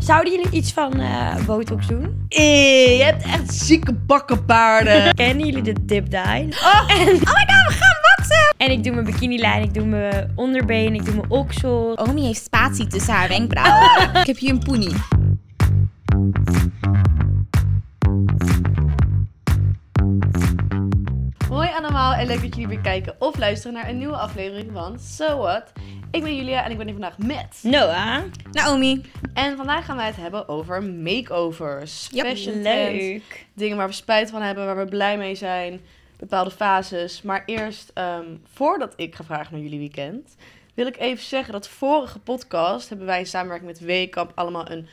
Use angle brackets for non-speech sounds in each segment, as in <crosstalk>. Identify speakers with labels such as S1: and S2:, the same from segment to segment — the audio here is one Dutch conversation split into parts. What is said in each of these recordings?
S1: Zouden jullie iets van eh, botox doen?
S2: Eh, je hebt echt zieke bakkenpaarden.
S1: Kennen jullie de dip dye? Oh, en, oh my god, we gaan boksen! En ik doe mijn bikinilijn, ik doe mijn onderbeen, ik doe mijn oksel.
S3: Omi heeft spatie tussen haar wenkbrauwen. <laughs> ik heb hier een poenie.
S4: Hoi allemaal en leuk dat jullie weer kijken of luisteren naar een nieuwe aflevering van So What. Ik ben Julia en ik ben hier vandaag
S2: Hm.
S4: met.
S1: Noah,
S3: Naomi.
S4: En vandaag gaan wij het hebben over makeovers.
S3: Yep.
S4: Fashion trends,
S1: leuk.
S4: dingen waar we spijt van hebben, waar we blij mee zijn. Bepaalde fases. Maar eerst, ehm, voordat ik ga vragen naar jullie weekend, wil ik even zeggen dat vorige podcast hebben wij in samenwerking met Weekamp allemaal een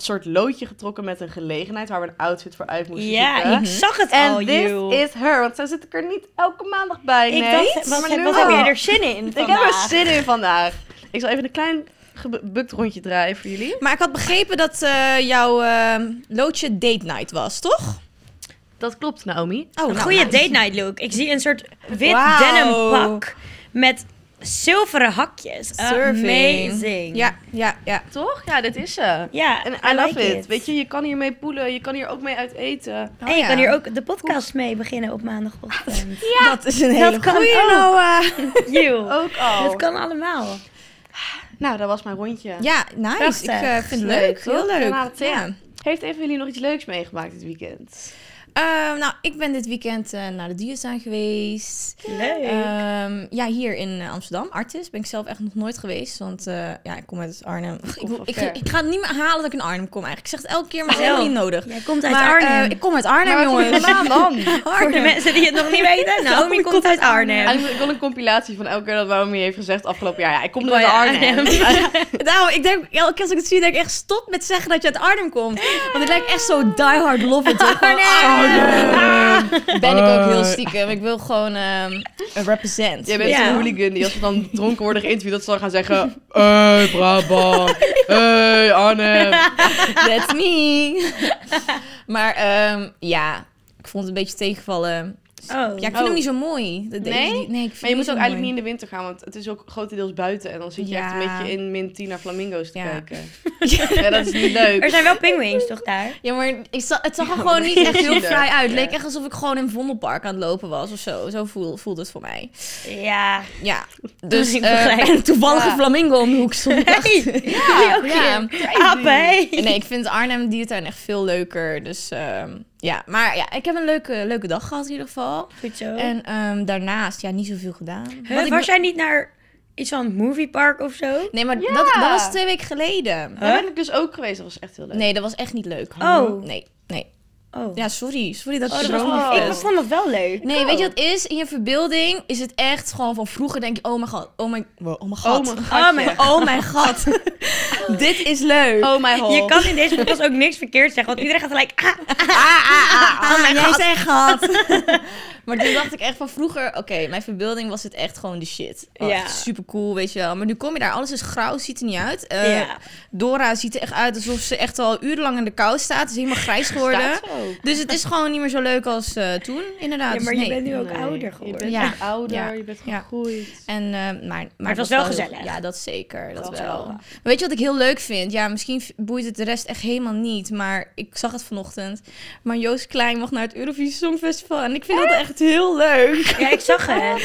S4: soort loodje getrokken met een gelegenheid waar we een outfit voor uit moesten zoeken.
S1: Ja, ik zag het al,
S4: En this
S1: joh.
S4: is her, want zo zit ik er niet elke maandag bij.
S1: Ik
S4: nee.
S1: dacht, wat,
S4: Maar
S1: heb-
S4: nu
S1: wat heb
S4: wel.
S1: jij er zin in
S4: Ik heb er
S1: vandaag?
S4: zin in vandaag. Ik zal even een klein gebukt rondje draaien voor jullie.
S3: Maar ik had begrepen dat eh, jouw ehm, loodje date night was, toch?
S4: Dat klopt, Naomi.
S3: Oh,
S1: Een goede date night look. Ik zie een soort wit
S3: Wauw.
S1: denim pak met zilveren hakjes. Amazing.
S3: Ja, ja, ja.
S4: Toch? Ja, dit is ze.
S1: ja
S4: En I,
S1: I
S4: love
S1: like
S4: it. Weet je, Oh je kan hiermee poelen, je kan hier ook mee uit eten.
S1: en je
S3: ja.
S1: kan Oh, hier ook de podcast mee beginnen op maandagochtend.
S4: <laughs>
S3: Dat nou, is een hele
S1: kan
S3: goeie,
S1: ook.
S3: Noah.
S1: Joh,
S4: Ook al.
S1: dat kan allemaal.
S4: Nou, dat was mijn rondje.
S3: Ja, nice.
S1: Prachtig.
S3: Ik eh, vind het
S4: Leuk,
S3: leuk.
S4: toch?
S3: Heel
S4: Kanalen
S3: leuk.
S4: T.
S3: Ja.
S4: Heeft een van jullie nog iets leuks meegemaakt dit weekend?
S3: Ehm, nou, ik ben dit weekend eh, naar de dierentuin geweest.
S1: Leuk.
S3: Ehm, ja, hier in eh, Amsterdam, Artis, ben ik zelf echt nog nooit geweest. Want eh, ja, ik kom uit Arnhem. Ik,
S4: van
S3: ik,
S4: ver.
S3: ik, ga het niet meer halen dat ik in Arnhem kom eigenlijk. Ik zeg het elke keer, maar het is
S1: Zo.
S3: helemaal niet nodig.
S1: Jij komt uit
S3: maar,
S1: Arnhem.
S3: eh, ik kom uit Arnhem,
S4: Maar waar
S3: jongens.
S4: kom je vandaan dan?
S1: Voor de
S3: <laughs> Arnhem.
S1: mensen die het nog niet
S3: <laughs>
S1: weten, Naomi komt uit
S4: Ah,
S1: Arnhem.
S4: ik wil- ik wil een compilatie van elke keer dat Naomi heeft gezegd afgelopen jaar. Ja, ik kom
S1: Ik
S4: door
S1: wil uit <laughs>
S4: Arnhem.
S3: Nou, ik denk, elke keer als ik het zie, denk ik echt stop met zeggen dat je uit Arnhem komt. Want ik lijk echt zo die hard
S1: <laughs>
S3: love it. hoor. Gewoon, Ah, Ben ik ook heel stiekem. Ik wil gewoon ehm, een represent.
S4: Jij Eh. bent
S1: Ja.
S4: zo'n hooligan die als we dan dronken worden geïnterviewd, dat ze dan gaan zeggen...
S2: Hé, hey, Brabant. hey, Arnhem.
S3: That's
S4: <laughs>
S3: me. maar ehm, ja, ik vond het een beetje tegenvallen.
S1: Oh.
S3: Ja, ik vind
S4: Oh.
S3: hem niet zo mooi. Dat
S4: Nee?
S3: deze- nee, ik vind
S4: Maar je moet ook
S3: hem
S4: eigenlijk niet in
S3: zo
S4: de winter gaan, want het is ook grotendeels buiten. En dan zit je
S3: Ja.
S4: echt een beetje in min 10 naar flamingo's te
S3: Ja. <laughs>
S4: kijken. Ja, dat is niet leuk.
S1: Er zijn wel pinguïns toch daar?
S3: mooi. Ja, maar ik zag, het zag er gewoon niet echt heel
S4: Zielig.
S3: vrij uit. Het
S4: <laughs>
S3: leek
S4: Ja.
S3: echt alsof ik gewoon in Vondelpark aan het lopen was of zo. Zo voel, voelde het voor mij. <laughs>
S1: Ja. <laughs>
S3: Ja, dus
S1: Ik
S3: eh,
S1: begrijp.
S3: en toevallig
S4: Ja.
S3: een flamingo om de hoek
S1: <laughs>
S3: <laughs> stond.
S1: Hey, jullie ook
S3: Ja.
S1: hier. Apen, hey.
S3: Nee, ik vind Arnhem dierentuin echt veel leuker. Dus ehm, ja, maar ja, ik heb een leuke, leuke dag gehad in ieder geval.
S1: Goed zo.
S3: En ehm, daarnaast, ja, niet zoveel gedaan.
S1: Oh. Huh,
S3: Wat ik
S1: was jij niet naar iets van een moviepark of zo?
S3: Nee, maar
S4: Ja.
S3: dat, dat was twee weken geleden.
S4: Daar ben ik dus ook geweest, dat was echt heel leuk.
S3: Nee, dat was echt niet leuk.
S1: Oh.
S3: Nee, nee.
S1: Oh.
S3: Ja, sorry. Sorry dat ik
S1: Oh,
S3: je
S1: dat
S3: zo
S1: was-
S3: niet
S1: ik vond dat wel leuk.
S3: Nee, weet je wat het is? In je verbeelding is het echt gewoon van vroeger denk je... Oh mijn god, oh mijn, wow, oh mijn god.
S4: Oh mijn
S1: Oh
S4: god.
S1: mijn
S3: Oh mijn god. <laughs> Dit is leuk.
S4: Oh mijn god.
S1: Je kan in deze podcast ook niks verkeerd zeggen, want iedereen gaat gelijk... Ah,
S3: Eh, oh mijn god. Jij god. <laughs> maar toen dacht ik echt van vroeger... Oké, mijn verbeelding was het echt gewoon de shit. Oh,
S1: Ja.
S3: ja. Super cool, weet je wel. Maar nu kom je daar, alles is grauw, ziet er niet uit. Eh,
S1: Ja.
S3: Dora ziet er echt uit alsof ze echt al urenlang in de kou staat. Ze is helemaal
S1: <laughs>
S3: grijs geworden.
S4: Staat zo.
S3: Dus het is gewoon niet meer zo leuk als eh, toen, inderdaad.
S1: ja, maar
S3: Dus
S1: je
S3: nee.
S1: bent nu ook
S4: Nee,
S1: ouder
S4: Je
S1: geworden.
S4: bent
S3: Ja.
S4: echt ouder,
S3: Ja.
S4: je bent
S3: Ja.
S4: gegroeid.
S3: En, eh, maar, maar,
S1: was
S3: dat
S1: wel
S3: is
S1: gezellig.
S3: Ja, dat zeker. Dat,
S4: Dat was
S3: wel.
S4: wel.
S3: Maar weet je wat ik heel leuk vind? Ja, misschien v- boeit het de rest echt helemaal niet. Maar ik zag het vanochtend. Maar Joost Klein mag naar het Eurovisie Songfestival. En ik vind dat echt heel leuk.
S1: Ja, ik zag
S3: <laughs>
S1: het.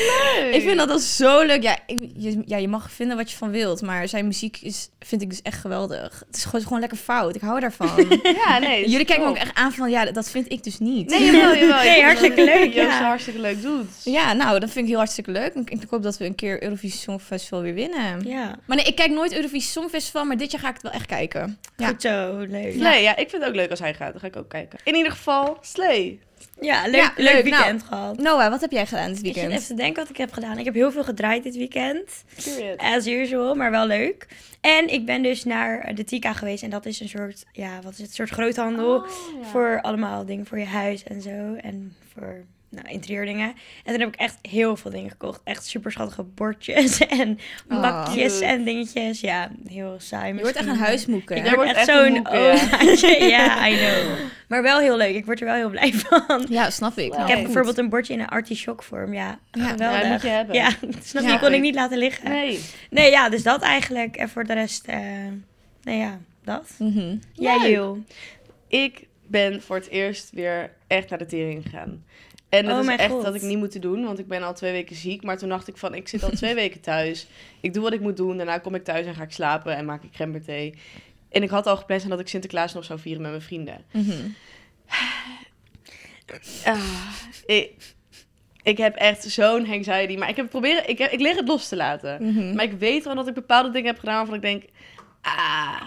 S3: Ik vind dat al zo leuk. Ja, ik- je, ja, je mag vinden wat je van wilt. Maar zijn muziek is, vind ik dus echt geweldig. Het is gewoon, gewoon lekker fout. Ik hou daarvan.
S4: Ja, nee.
S3: <laughs>
S4: dat is
S3: Jullie kijken me ook
S4: top.
S3: echt aan van... Ja, dat- dat vind ik dus niet.
S4: Nee, jawel,
S3: <laughs>
S4: jawel. Ik
S1: Nee,
S4: vind
S1: hartstikke
S4: dat
S1: leuk,
S4: Joost
S1: ja.
S4: het hartstikke leuk doet.
S3: Ja, nou, dat vind ik heel hartstikke leuk. Ik, ik hoop dat we een keer Eurovisie Songfestival weer winnen.
S1: Ja.
S3: Maar nee, ik kijk nooit Eurovisie Songfestival, maar dit jaar ga ik het wel echt kijken. Ja.
S1: Goed zo, leuk.
S4: Nee, ja, ik vind het ook leuk als hij gaat. Dan ga ik ook kijken. In ieder geval, slee.
S1: Ja, leuk,
S3: Ja,
S1: leuk
S3: leuk, Nou,
S1: weekend gehad.
S3: Noah, wat heb jij gedaan dit
S1: Ik zit even
S3: weekend?
S1: te denken wat ik heb gedaan. Ik heb heel veel gedraaid dit weekend.
S4: Period.
S3: Eh,
S1: As usual, maar wel leuk. En ik ben dus naar eh, de Tika geweest. En dat is een soort, ja, wat is het? Een soort groothandel.
S3: Oh,
S1: Voor allemaal dingen voor je huis en zo. En voor nou, interieurdingen. En toen heb ik echt heel veel dingen gekocht. Echt super schattige bordjes <laughs> en
S3: Oh.
S1: bakjes
S4: Cute.
S1: en dingetjes. Ja, heel saai.
S3: Je wordt echt een huismoeker.
S4: Ik
S1: Ik
S4: Jij
S1: word
S4: wordt
S1: echt
S4: echt een
S1: zo'n
S4: moeke, ja.
S1: omaatje. <laughs> Ja, I
S3: <laughs>
S1: know. Maar wel heel leuk. Ik word er wel heel blij <laughs> van.
S3: Ja, snap ik. Nou,
S1: Ik heb
S3: goed.
S1: bijvoorbeeld een bordje in een artichok vorm. Ja,
S3: Ja. nou,
S1: geweldig.
S4: Ja, moet je hebben.
S1: Ja, <laughs> snap je?
S3: Ja. eh.
S1: Die kon ik niet laten liggen. Nee.
S4: Nee.
S1: ja, dus dat eigenlijk. En voor de rest, eh nou ja. dat.
S3: Mhm.
S1: Jij,
S4: Leuk.
S1: Jules.
S4: Ik ben voor het eerst weer echt naar de tering gegaan. En dat
S1: Oh
S4: is
S1: mijn
S4: echt
S1: God.
S4: dat ik niet moeten doen, want ik ben al twee weken ziek. Maar toen dacht ik van, ik zit al twee weken thuis. Ik doe wat ik moet doen, daarna kom ik thuis en ga ik slapen en maak ik gemberthee. En ik had al gepland dat ik Sinterklaas nog zou vieren met mijn vrienden.
S3: Mhm.
S4: Ah, ik, ik heb echt zo'n anxiety, maar ik heb het proberen, ik, heb, ik leer het los te laten.
S3: Mhm.
S4: Maar ik weet wel dat ik bepaalde dingen heb gedaan waarvan ik denk, ah,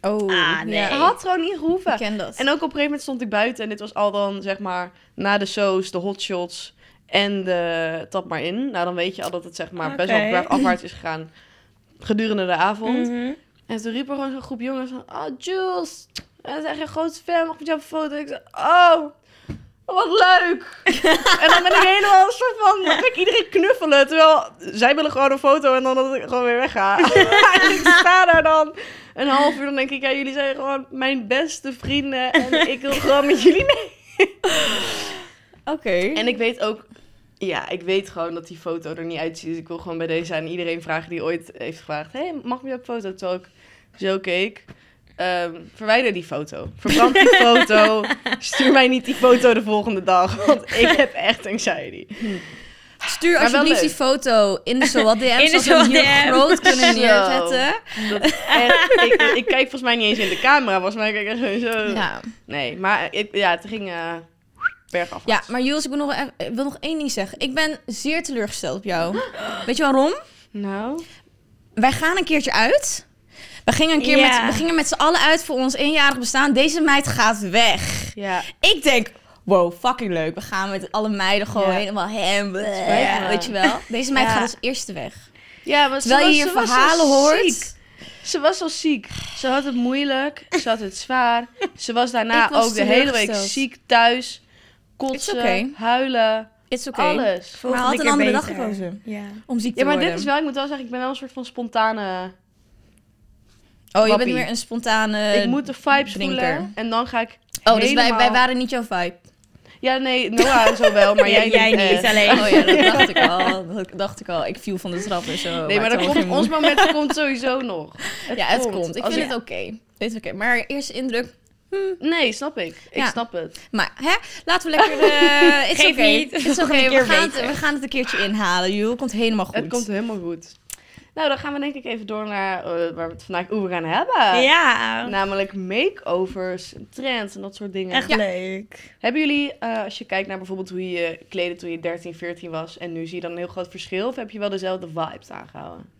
S3: Oh,
S1: Ah, nee.
S3: ja.
S4: het had gewoon niet gehoeven.
S3: Ik ken dat.
S4: En ook op een gegeven moment stond ik buiten en dit was al dan, zeg maar, na de shows, de hotshots en de tap maar in. Nou, dan weet je al dat het, zeg maar, best wel
S1: Oké.
S4: bergafwaarts is gegaan gedurende de avond.
S1: Mhm.
S4: En toen riep er gewoon zo'n groep jongens van, oh, Jules, we zijn echt een groot fan, mag ik met jou op een foto? Ik zei, oh, wat leuk. en dan ben ik helemaal een soort van, dan ben ik iedereen knuffelen, terwijl zij willen gewoon een foto en dan dat ik gewoon weer wegga. <laughs> en ik sta daar dan een half uur, dan denk ik, ja, jullie zijn gewoon mijn beste vrienden en ik wil gewoon met jullie mee.
S3: Oké.
S4: En ik weet ook, ja, ik weet gewoon dat die foto er niet uitziet. Dus ik wil gewoon bij deze aan iedereen vragen die ooit heeft gevraagd: hey, mag ik met jou op foto? Terwijl ik zo keek. ehm, verwijder die foto. Verbrand
S3: <laughs>
S4: die foto. Stuur mij niet die foto de volgende dag. Want ik heb echt anxiety.
S3: Stuur
S4: Maar
S3: alsjeblieft
S4: leuk.
S3: die foto in de zowat DM,
S1: de
S3: zodat we hem hier
S1: zowat
S3: groot kunnen
S4: Zo.
S3: neerzetten.
S4: Dat is echt, ik, ik kijk volgens mij niet eens in de camera. Volgens mij kijk ik echt gewoon zo.
S3: Ja.
S4: Nee, maar ik, ja, het ging eh bergaf.
S3: ja, maar Jules, ik wil, nog, e- ik wil nog één ding zeggen. Ik ben zeer teleurgesteld op jou. Weet je waarom?
S4: Nou,
S3: Wij gaan een keertje uit. We gingen, een keer
S1: Ja.
S3: met, we gingen met z'n allen uit voor ons eenjarig bestaan. Deze meid gaat weg.
S4: ja.
S3: Ik denk, wow, fucking leuk. We gaan met alle meiden gewoon
S4: Ja.
S3: helemaal hem.
S4: spijt me.
S3: Weet je wel? Deze meid
S1: Ja.
S3: gaat als eerste weg.
S4: ja maar ze
S3: Terwijl je
S4: was-
S3: hier
S4: ze was zo
S3: verhalen
S4: ziek.
S3: hoort.
S4: Ze was al ziek. Ze had het moeilijk. Ze had het zwaar. Ze was daarna
S3: Ik was
S4: ook de hele week
S3: teleurgesteld.
S4: ziek thuis. Kotsen,
S3: It's okay.
S4: huilen,
S3: It's oké.
S4: alles.
S1: Volgende
S3: had een
S1: keer
S3: andere dag
S1: beter.
S3: gekozen.
S1: Ja.
S3: Om ziek te
S4: Ja, maar
S3: worden.
S4: dit is wel, ik moet wel zeggen, ik ben wel een soort van spontane...
S3: Oh, je bent
S4: wappie.
S3: weer een spontane...
S4: ik moet de vibes
S3: Eh, drinker.
S4: voelen en dan ga ik
S3: Oh, dus wij, wij
S4: helemaal-
S3: waren niet jouw vibe.
S4: Ja, nee, Noah zo
S3: <laughs>
S4: wel, maar jij,
S1: jij
S4: eh.
S1: niet alleen.
S3: Oh ja, dat dacht ik
S4: <laughs>
S3: al. Dat dacht ik al. Ik viel van de trap en zo.
S4: Nee, maar
S3: toen
S4: dat komt,
S3: ging-
S4: ons moment komt sowieso nog.
S3: Ja, het
S4: komt.
S3: komt. Ik
S4: Als
S3: vind
S4: ik-
S3: het oké. Dit is oké. Maar eerste indruk.
S4: Nee, snap ik. Ik
S3: Ja.
S4: snap het.
S3: Maar hè,
S4: <laughs>
S3: laten we lekker... eh it's
S1: Geef
S3: okay.
S1: niet.
S3: It's
S1: Volgende
S3: okay.
S1: keer
S3: We, gaan het,
S1: beter.
S3: we gaan het een keertje inhalen, joh. Komt helemaal goed.
S4: Het komt helemaal goed. Nou, dan gaan we denk ik even door naar eh, waar we het vandaag over gaan hebben.
S1: Ja,
S3: Oh.
S4: Namelijk makeovers, en trends en dat soort dingen.
S1: echt
S3: Nou, Ja.
S1: leuk.
S4: Hebben jullie, eh, als je kijkt naar bijvoorbeeld hoe je je kleedde toen je 13, 14 was en nu zie je dan een heel groot verschil? Of heb je wel dezelfde vibes aangehouden?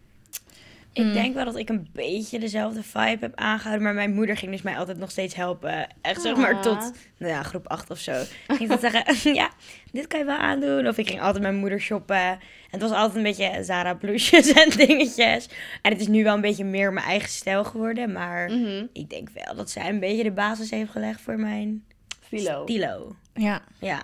S1: Ik
S3: Mm.
S1: denk wel dat ik een beetje dezelfde vibe heb aangehouden. Maar mijn moeder ging dus mij altijd nog steeds helpen. Echt zeg maar
S4: Ah.
S1: tot nou ja, groep 8 of zo. Ging ze zeggen, <laughs> ja, dit kan je wel aandoen. Of ik ging altijd met mijn moeder shoppen. En het was altijd een beetje Zara blouses <laughs> en dingetjes. En het is nu wel een beetje meer mijn eigen stijl geworden. Maar
S3: Mm.
S4: Mhm.
S1: ik denk wel dat zij een beetje de basis heeft gelegd voor mijn
S4: Stilo.
S1: stilo.
S3: Ja.
S1: Ja,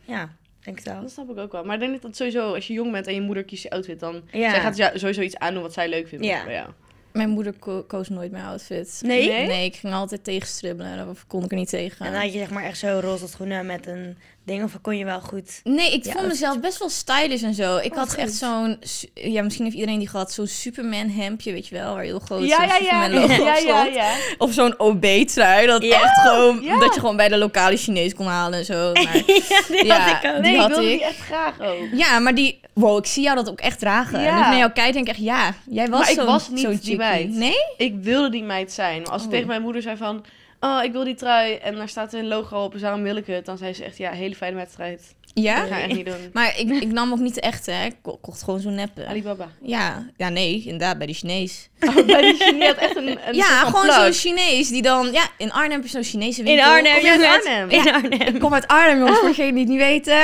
S1: ja, denk het wel.
S4: Dat snap ik ook wel. Maar ik denk dat sowieso, als je jong bent en je moeder kiest je outfit, dan
S1: Ja.
S4: zij gaat jou sowieso iets aandoen wat zij leuk vindt.
S1: Ja.
S4: Bij jou.
S3: Mijn moeder ko- koos nooit mijn outfit.
S1: Nee?
S3: Nee, ik ging altijd tegenstribbelen. Of kon ik er niet tegen.
S1: En dan had je zeg maar echt zo roze schoenen met een ding. Of kon je wel goed... <laughs>
S3: Nee, ik
S1: Ja,
S3: vond
S1: ook
S3: mezelf best wel stylish en zo.
S4: Oh,
S3: Ik had echt
S1: goed.
S3: zo'n... su- Ja, misschien heeft iedereen die gehad. Zo'n Superman hemdje, weet je wel. Waar heel groot
S4: Ja,
S3: zo'n
S4: ja, ja. <laughs>
S3: Superman logo op
S4: ja, ja,
S3: stond.
S4: ja.
S3: Of zo'n OB-trui. Dat,
S1: Ja.
S3: echt gewoon,
S4: ja.
S3: dat je gewoon bij de lokale Chinees kon halen en
S4: <laughs>
S3: zo. Maar,
S1: ja, die
S3: Ja,
S1: had ik ook. <laughs>
S3: Die
S4: Nee, ik
S3: had
S4: wilde
S3: ik.
S4: die echt graag ook.
S3: ja, maar die... Wow, ik zie jou dat ook echt dragen.
S4: Ja.
S3: En ik naar jou kijk denk ik echt... Ja, jij was
S4: Maar ik
S3: zo'n
S4: was niet
S3: zo'n
S4: die
S3: chickie.
S4: meid.
S3: Nee?
S4: Ik wilde die meid zijn. Maar als ze
S3: Oh.
S4: tegen mijn moeder zei van, oh, ik wil die trui en daar staat een logo op, dus daarom wil ik het. Dan zei ze echt, ja, hele fijne wedstrijd.
S3: Ja?
S4: Dat ga ik echt niet doen.
S3: Maar ik, ik nam ook niet de echte, hè. Ik ko- kocht gewoon zo'n neppe.
S4: Alibaba.
S3: Ja, ja, nee, inderdaad, bij die Chinees.
S4: <laughs> Oh, bij die Chinees had echt een, een soort
S3: ja,
S4: van
S3: gewoon
S4: plug.
S3: zo'n Chinees die dan... Ja, in Arnhem heb je zo'n Chinese
S1: In
S3: winkel.
S1: Arnhem,
S4: Of in
S1: jongens.
S4: Arnhem.
S1: In Arnhem.
S3: Ik kom uit Arnhem, jongens, voor degenen die het niet
S4: <laughs>
S3: weten.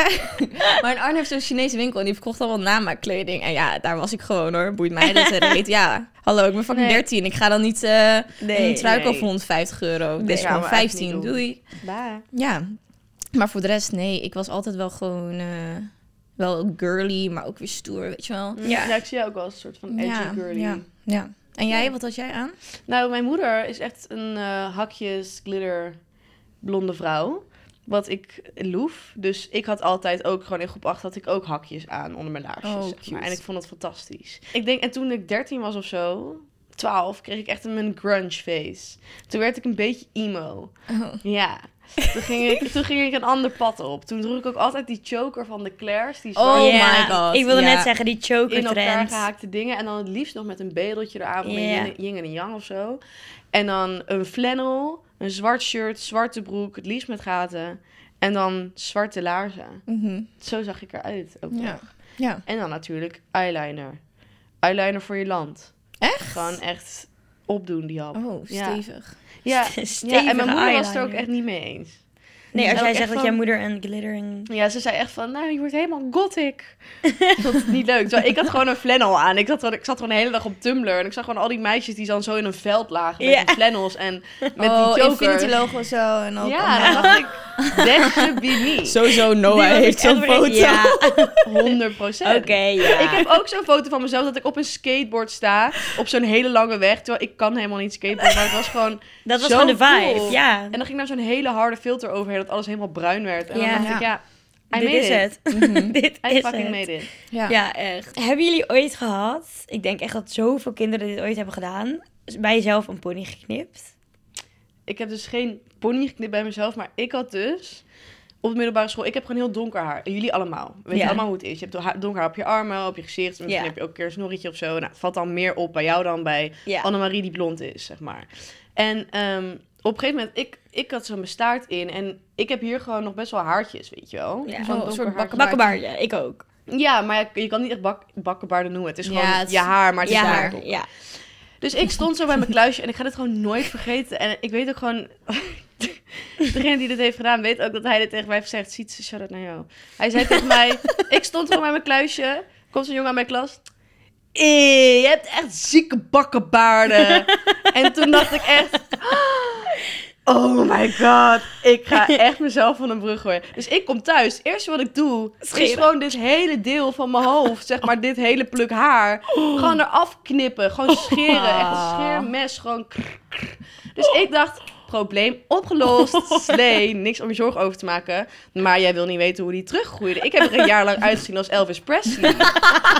S3: maar in Arnhem heeft zo'n Chinese winkel en die verkocht allemaal namaakkleding. En ja, daar was ik gewoon hoor, boeit mij dat
S4: <laughs>
S3: er niet. Ja, hallo, ik ben fucking
S4: Nee.
S3: 13. Ik ga dan niet eh,
S1: Nee,
S3: een trui kopen
S4: nee.
S3: voor 150 euro. Dit
S4: Nee,
S3: is
S4: gaan
S3: gewoon
S4: we echt niet
S3: 15,
S4: doen.
S3: doei.
S4: Bah.
S3: Ja, maar voor de rest, nee, ik was altijd wel gewoon... eh, wel girly, maar ook weer stoer, weet je wel.
S1: Ja.
S4: Ja. ik zie jou ook wel als een soort van Mm. edgy
S3: ja,
S4: girly.
S3: ja, ja. En jij,
S4: Ja.
S3: wat had jij aan?
S4: Nou, mijn moeder is echt een eh, hakjes, glitter, blonde vrouw. Wat ik loef. Dus ik had altijd ook gewoon in groep 8 had ik ook hakjes aan onder mijn laarsjes.
S3: Oh,
S4: zeg maar.
S3: cute.
S4: En ik vond het fantastisch. Ik denk, en toen ik 13 was of zo, 12 kreeg ik echt een grunge face. Toen werd ik een beetje emo.
S3: Oh.
S4: Ja. Toen ging, ik, toen ging ik een ander pad op. Toen droeg ik ook altijd die choker van de Claire's. Die
S3: Oh
S4: zwarte-
S1: Ja,
S3: my god,
S1: Ik wilde
S3: ja.
S1: net zeggen, die
S4: in
S1: choker
S4: elkaar
S1: trend.
S4: gehaakte dingen. En dan het liefst nog met een bedeltje eraan van
S1: Ja.
S4: een yin- yin en een yang of zo. En dan een flannel, een zwart shirt, zwarte broek, het liefst met gaten. En dan zwarte laarzen.
S3: Mhm.
S4: Zo zag ik eruit ook
S3: Ja.
S4: nog.
S3: Ja.
S4: En dan natuurlijk eyeliner. Eyeliner voor je land.
S3: Echt?
S4: Gewoon echt opdoen die hap.
S3: Oh,
S4: Ja.
S3: stevig.
S4: Ja,
S1: Stevige
S4: ja, en mijn moeder was er ook
S1: eyeliner.
S4: echt niet mee eens.
S1: Nee, als
S4: Ook
S1: jij
S4: echt
S1: zegt dat
S4: van-
S1: jouw moeder een glittering...
S4: Ja, ze zei echt van, nou, je wordt helemaal
S1: <laughs>
S4: gothic. Dat is niet leuk. Terwijl ik had gewoon een flannel aan. Ik zat, gewoon- ik zat gewoon de hele dag op Tumblr. En ik zag gewoon al die meisjes die dan zo in een veld lagen met
S1: Ja.
S4: die flannels
S1: <laughs>
S4: en met
S3: oh,
S4: die joker.
S3: Infinity logo zo en al. Nou,
S4: Ja, en dan dacht ik,
S1: <laughs>
S4: that's should be me.
S2: Sowieso, Noah
S1: Die was
S2: heeft
S1: ik
S2: zo'n
S1: echt weer-
S2: foto.
S1: Ja,
S4: <laughs>
S1: oké,
S4: 100 procent.
S1: ja.
S4: Ik heb ook zo'n foto van mezelf dat ik op een skateboard sta. Op zo'n hele lange weg. Terwijl ik kan helemaal niet skateboarden. Maar het was gewoon...
S1: Dat was
S4: zo
S1: gewoon de vibe,
S4: cool.
S1: ja.
S4: En dan ging daar zo'n hele harde filter overheen. Dat alles helemaal bruin werd. En
S1: Ja.
S4: dan dacht ik, ja, I
S1: Dit
S4: made
S1: is
S4: it.
S1: het.
S3: Mhm.
S1: <laughs> Dit
S4: I
S1: is
S4: fucking
S1: het.
S4: made it.
S3: ja.
S1: Ja, echt. Hebben jullie ooit gehad, ik denk echt dat zoveel kinderen dit ooit hebben gedaan, bij jezelf een pony geknipt?
S4: ik heb dus geen pony geknipt bij mezelf, maar ik had dus op de middelbare school, ik heb gewoon heel donker haar. En Jullie allemaal. Weet
S1: Ja.
S4: je allemaal hoe het is. Je hebt ha- donker haar op je armen, op je gezicht. En misschien
S1: Ja.
S4: heb je ook een keer een snorretje of zo. Nou, het valt dan meer op bij jou dan bij
S1: Ja.
S4: Annemarie die blond is, zeg maar. En ehm, op een gegeven moment, ik, ik had zo mijn staart in. En ik heb hier gewoon nog best wel haartjes, weet je wel.
S1: Ja.
S4: Zo'n
S1: Een
S4: donker
S3: soort
S4: haartje.
S1: Bakkenbaardje, ik ook.
S4: Ja, maar ja, je kan niet echt bak, bakkenbaarden noemen. Het is
S3: Ja,
S4: gewoon
S3: het is-
S4: je haar, maar het is
S1: ja,
S4: haar.
S1: ja.
S4: Dus ik stond zo bij mijn kluisje en ik ga dit gewoon nooit vergeten. En ik weet ook gewoon... <laughs> Degene die dit heeft gedaan weet ook dat hij dit tegen mij heeft gezegd. Ziet ze, shout-out naar jou. Hij zei tegen <laughs> mij... Ik stond gewoon bij mijn kluisje. Komt zo'n jongen aan mijn klas. "Eh, je hebt echt zieke bakkenbaarden. <laughs> en toen dacht ik echt... <gasps> Oh my god. Ik <laughs> ga echt mezelf van een brug gooien. Dus ik kom thuis. Het eerste wat ik doe... is
S1: Scheren.
S4: gewoon dit hele deel van mijn hoofd. Zeg maar dit hele pluk haar. Gewoon eraf knippen. Gewoon scheren. Echt een scheermes. Gewoon... krr, krr. Dus ik dacht... Probleem opgelost. Nee, niks om je zorgen over te maken. Maar jij wil niet weten hoe die teruggroeide. Ik heb er een jaar lang uitgezien als Elvis Presley.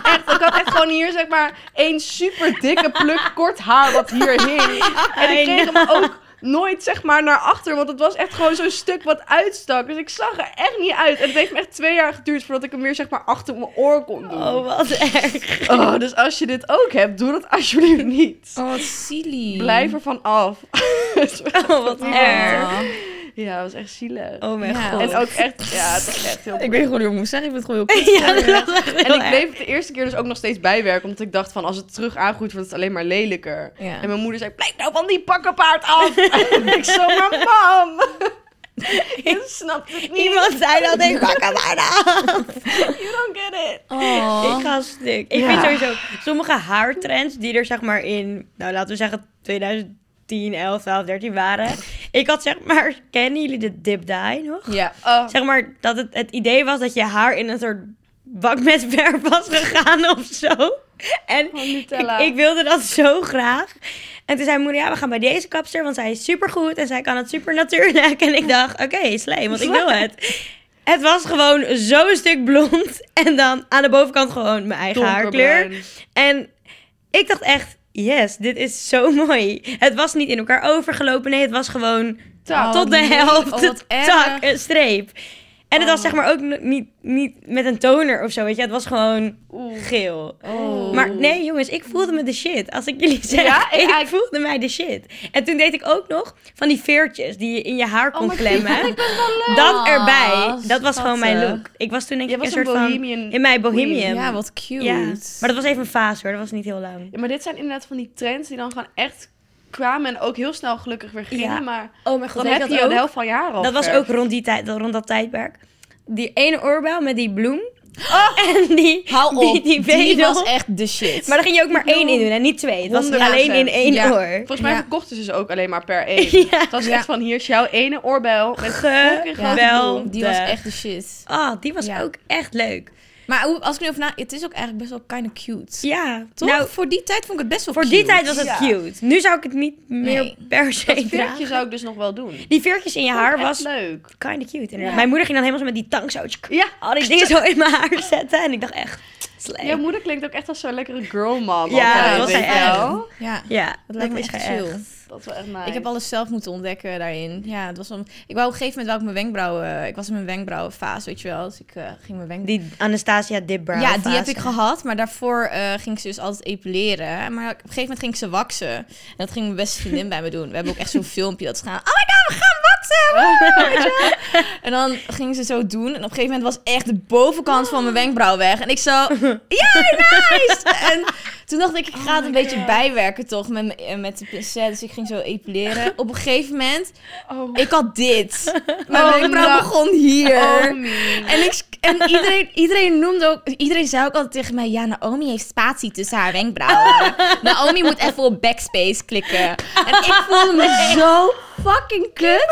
S4: Echt, ik had echt gewoon hier zeg maar één super dikke pluk kort haar wat hier hing. En ik kreeg hem ook nooit zeg maar naar achter, want het was echt gewoon zo'n stuk wat uitstak. Dus ik zag er echt niet uit. En het heeft me echt twee jaar geduurd voordat ik hem weer zeg maar achter mijn oor kon doen.
S1: Oh,
S4: Oh,
S1: wat erg. <laughs>
S4: dus als je dit ook hebt, doe dat alsjeblieft niet.
S3: Oh, wat silly.
S4: Blijf ervan af. <laughs>
S1: Oh, wat
S3: Oh.
S1: erg.
S4: ja, dat was echt zielig.
S1: Oh mijn
S3: Ja.
S1: god.
S4: En ook echt, ja, het was echt heel
S3: Ik weet gewoon niet hoe ik moet zeggen. Ik vind het gewoon heel kut.
S1: ja, dat was echt
S4: En
S1: <laughs> heel
S4: ik bleef het de eerste keer dus ook nog steeds bijwerken. Omdat ik dacht van, als het terug aangroeit, wordt het alleen maar lelijker.
S3: Ja.
S4: En mijn moeder zei, blijf nou van die pakkenpaard
S1: <laughs>
S4: af. en ik zo, maar mam. ik snap het
S1: erg.
S4: niet.
S1: Iemand zei dat
S4: <laughs>
S1: ik wakker werd.
S4: You don't get it.
S3: Oh.
S1: Ik ga stuk. Ik vind sowieso sommige haartrends die er zeg maar in, nou laten we zeggen 2010, 11, 12, 13 waren. Ik had zeg maar, kennen jullie de dip dye nog?
S3: Ja.
S4: Oh,
S1: Zeg maar dat het, het idee was dat je haar in een soort bak met verf <laughs> was gegaan of zo. En
S4: van Nutella.
S1: ik, ik wilde dat zo graag. En toen zei mijn moeder, ja, we gaan bij deze kapster, want zij is supergoed en zij kan het super natuurlijk. En ik dacht, oké, slee, want ik wil het. Het was gewoon zo'n stuk blond en dan aan de bovenkant gewoon mijn eigen haarkleur.
S4: Donkerbruin.
S1: En ik dacht echt, yes, dit is zo <laughs> mooi. Het was niet in elkaar overgelopen. Nee, het was gewoon
S4: Tak.
S1: tot de
S3: nee.
S1: helft.
S3: Oh, wat erg.
S1: tak, een streep. En het was
S3: Oh.
S1: zeg maar ook n- niet, niet met een toner of zo, weet je. Het was gewoon
S4: Oeh.
S1: geel.
S3: Oh.
S1: Maar nee, jongens, ik voelde me de shit. Als ik jullie zeg,
S4: Ja,
S1: <laughs>
S4: ik-
S1: ik,
S4: ik-
S1: voelde mij de shit. En toen deed ik ook nog van die veertjes die je in je
S3: Oh
S1: haar kon
S4: maar
S3: <laughs>
S1: klemmen.
S3: leuk.
S1: Dat erbij,
S3: Ah,
S1: dat was gewoon mijn
S3: schattig.
S1: look. Ik was toen denk
S4: Jij
S1: ik een
S4: was
S1: soort
S4: een
S1: van...
S4: bohemian.
S1: In mijn bohemian.
S3: Ja, wat cute.
S1: Ja, maar dat was even een fase hoor, dat was niet heel lang.
S4: Ja, maar dit zijn inderdaad van die trends die dan gewoon echt kwamen en ook heel snel gelukkig weer gingen.
S1: Ja.
S4: Maar
S3: Oh mijn god,
S4: dan
S3: weet
S4: heb
S3: je
S4: je
S3: dat
S4: de
S3: ook?
S4: helft van jaren
S3: Oh,
S4: al
S1: Dat was ook
S4: geverfd.
S1: rond, die tijd, rond dat tijdperk. Die ene oorbel met die bloem. <laughs> En die,
S3: Oh. Hou
S1: die,
S3: op,
S1: die
S3: die,
S1: wedel.
S3: was echt de shit.
S1: Maar daar ging je ook maar één in doen en niet twee. Het was
S4: 100%.
S1: alleen in één
S3: Ja.
S1: oor.
S4: Volgens mij
S3: Ja.
S4: verkochten ze ze ook alleen maar
S1: <laughs>
S4: per één.
S1: Ja.
S4: Dat was echt van, hier is jouw ene oorbel. Met fucking
S1: Geweldig.
S3: die was echt de shit.
S1: Ah, die was
S3: Ja.
S1: ook echt leuk.
S3: Maar hoe- als ik nu over na... Het is ook eigenlijk best wel kind of cute.
S1: Ja,
S3: Toch?
S1: Nou,
S3: voor die tijd vond ik het best wel
S1: voor
S3: cute.
S1: die tijd was het
S4: Ja.
S1: cute. Nu zou ik het niet meer
S3: Nee. Oh,
S1: per se
S4: Dat
S1: dragen.
S4: veertje zou ik dus nog wel doen.
S1: Die veertjes in je haar
S4: Echt
S1: was
S4: leuk.
S1: kind of cute. Inderdaad.
S4: Ja.
S1: Mijn moeder ging dan helemaal zo met die tang zo... tsk,
S4: Ja.
S1: Al die dingen zo in mijn haar zetten. En ik dacht echt, slecht.
S4: Jouw moeder klinkt ook echt als zo'n lekkere girl mom.
S1: Ja,
S4: altijd,
S1: dat
S4: weet
S1: zij
S4: je
S1: echt.
S4: wel.
S3: Ja.
S1: Ja,
S3: Dat lijkt me echt chill.
S4: Dat is wel echt nice.
S3: Ik heb alles zelf moeten ontdekken daarin. Ja, het was wel... Ik wou op een gegeven moment wou ik mijn wenkbrauwen... Ik was in mijn wenkbrauwenfase, weet je wel. Dus ik eh, ging mijn wenkbrauwen...
S1: Die Anastasia Dipbrow
S3: Ja, die
S1: fase.
S3: heb ik gehad. Maar daarvoor eh, ging ik ze dus altijd epileren. Maar op een gegeven moment ging ik ze waksen. En dat ging mijn beste vriendin bij me doen. We hebben ook echt zo'n filmpje dat ze gaan... Oh my god, we gaan waksen! Wow, weet je wel? En dan ging ze zo doen. En op een gegeven moment was echt de bovenkant van mijn wenkbrauw weg. En ik zo... Ja, nice! En toen dacht ik, ik ga het een beetje bijwerken toch met, mijn- eh, met de pincet. Dus ik ging zo epileren. Op een gegeven moment,
S4: Oh.
S3: ik had
S1: <laughs>
S3: dit. Mijn
S4: Oh,
S3: wenkbrauw
S4: nou.
S3: begon hier.
S1: Oh,
S4: Omi.
S3: En, ik, en iedereen, iedereen noemde ook, iedereen zei ook altijd tegen mij, ja, Naomi heeft spatie tussen haar
S1: <laughs>
S3: wenkbrauwen. Naomi moet even op backspace klikken. En ik voelde me zo fucking kut.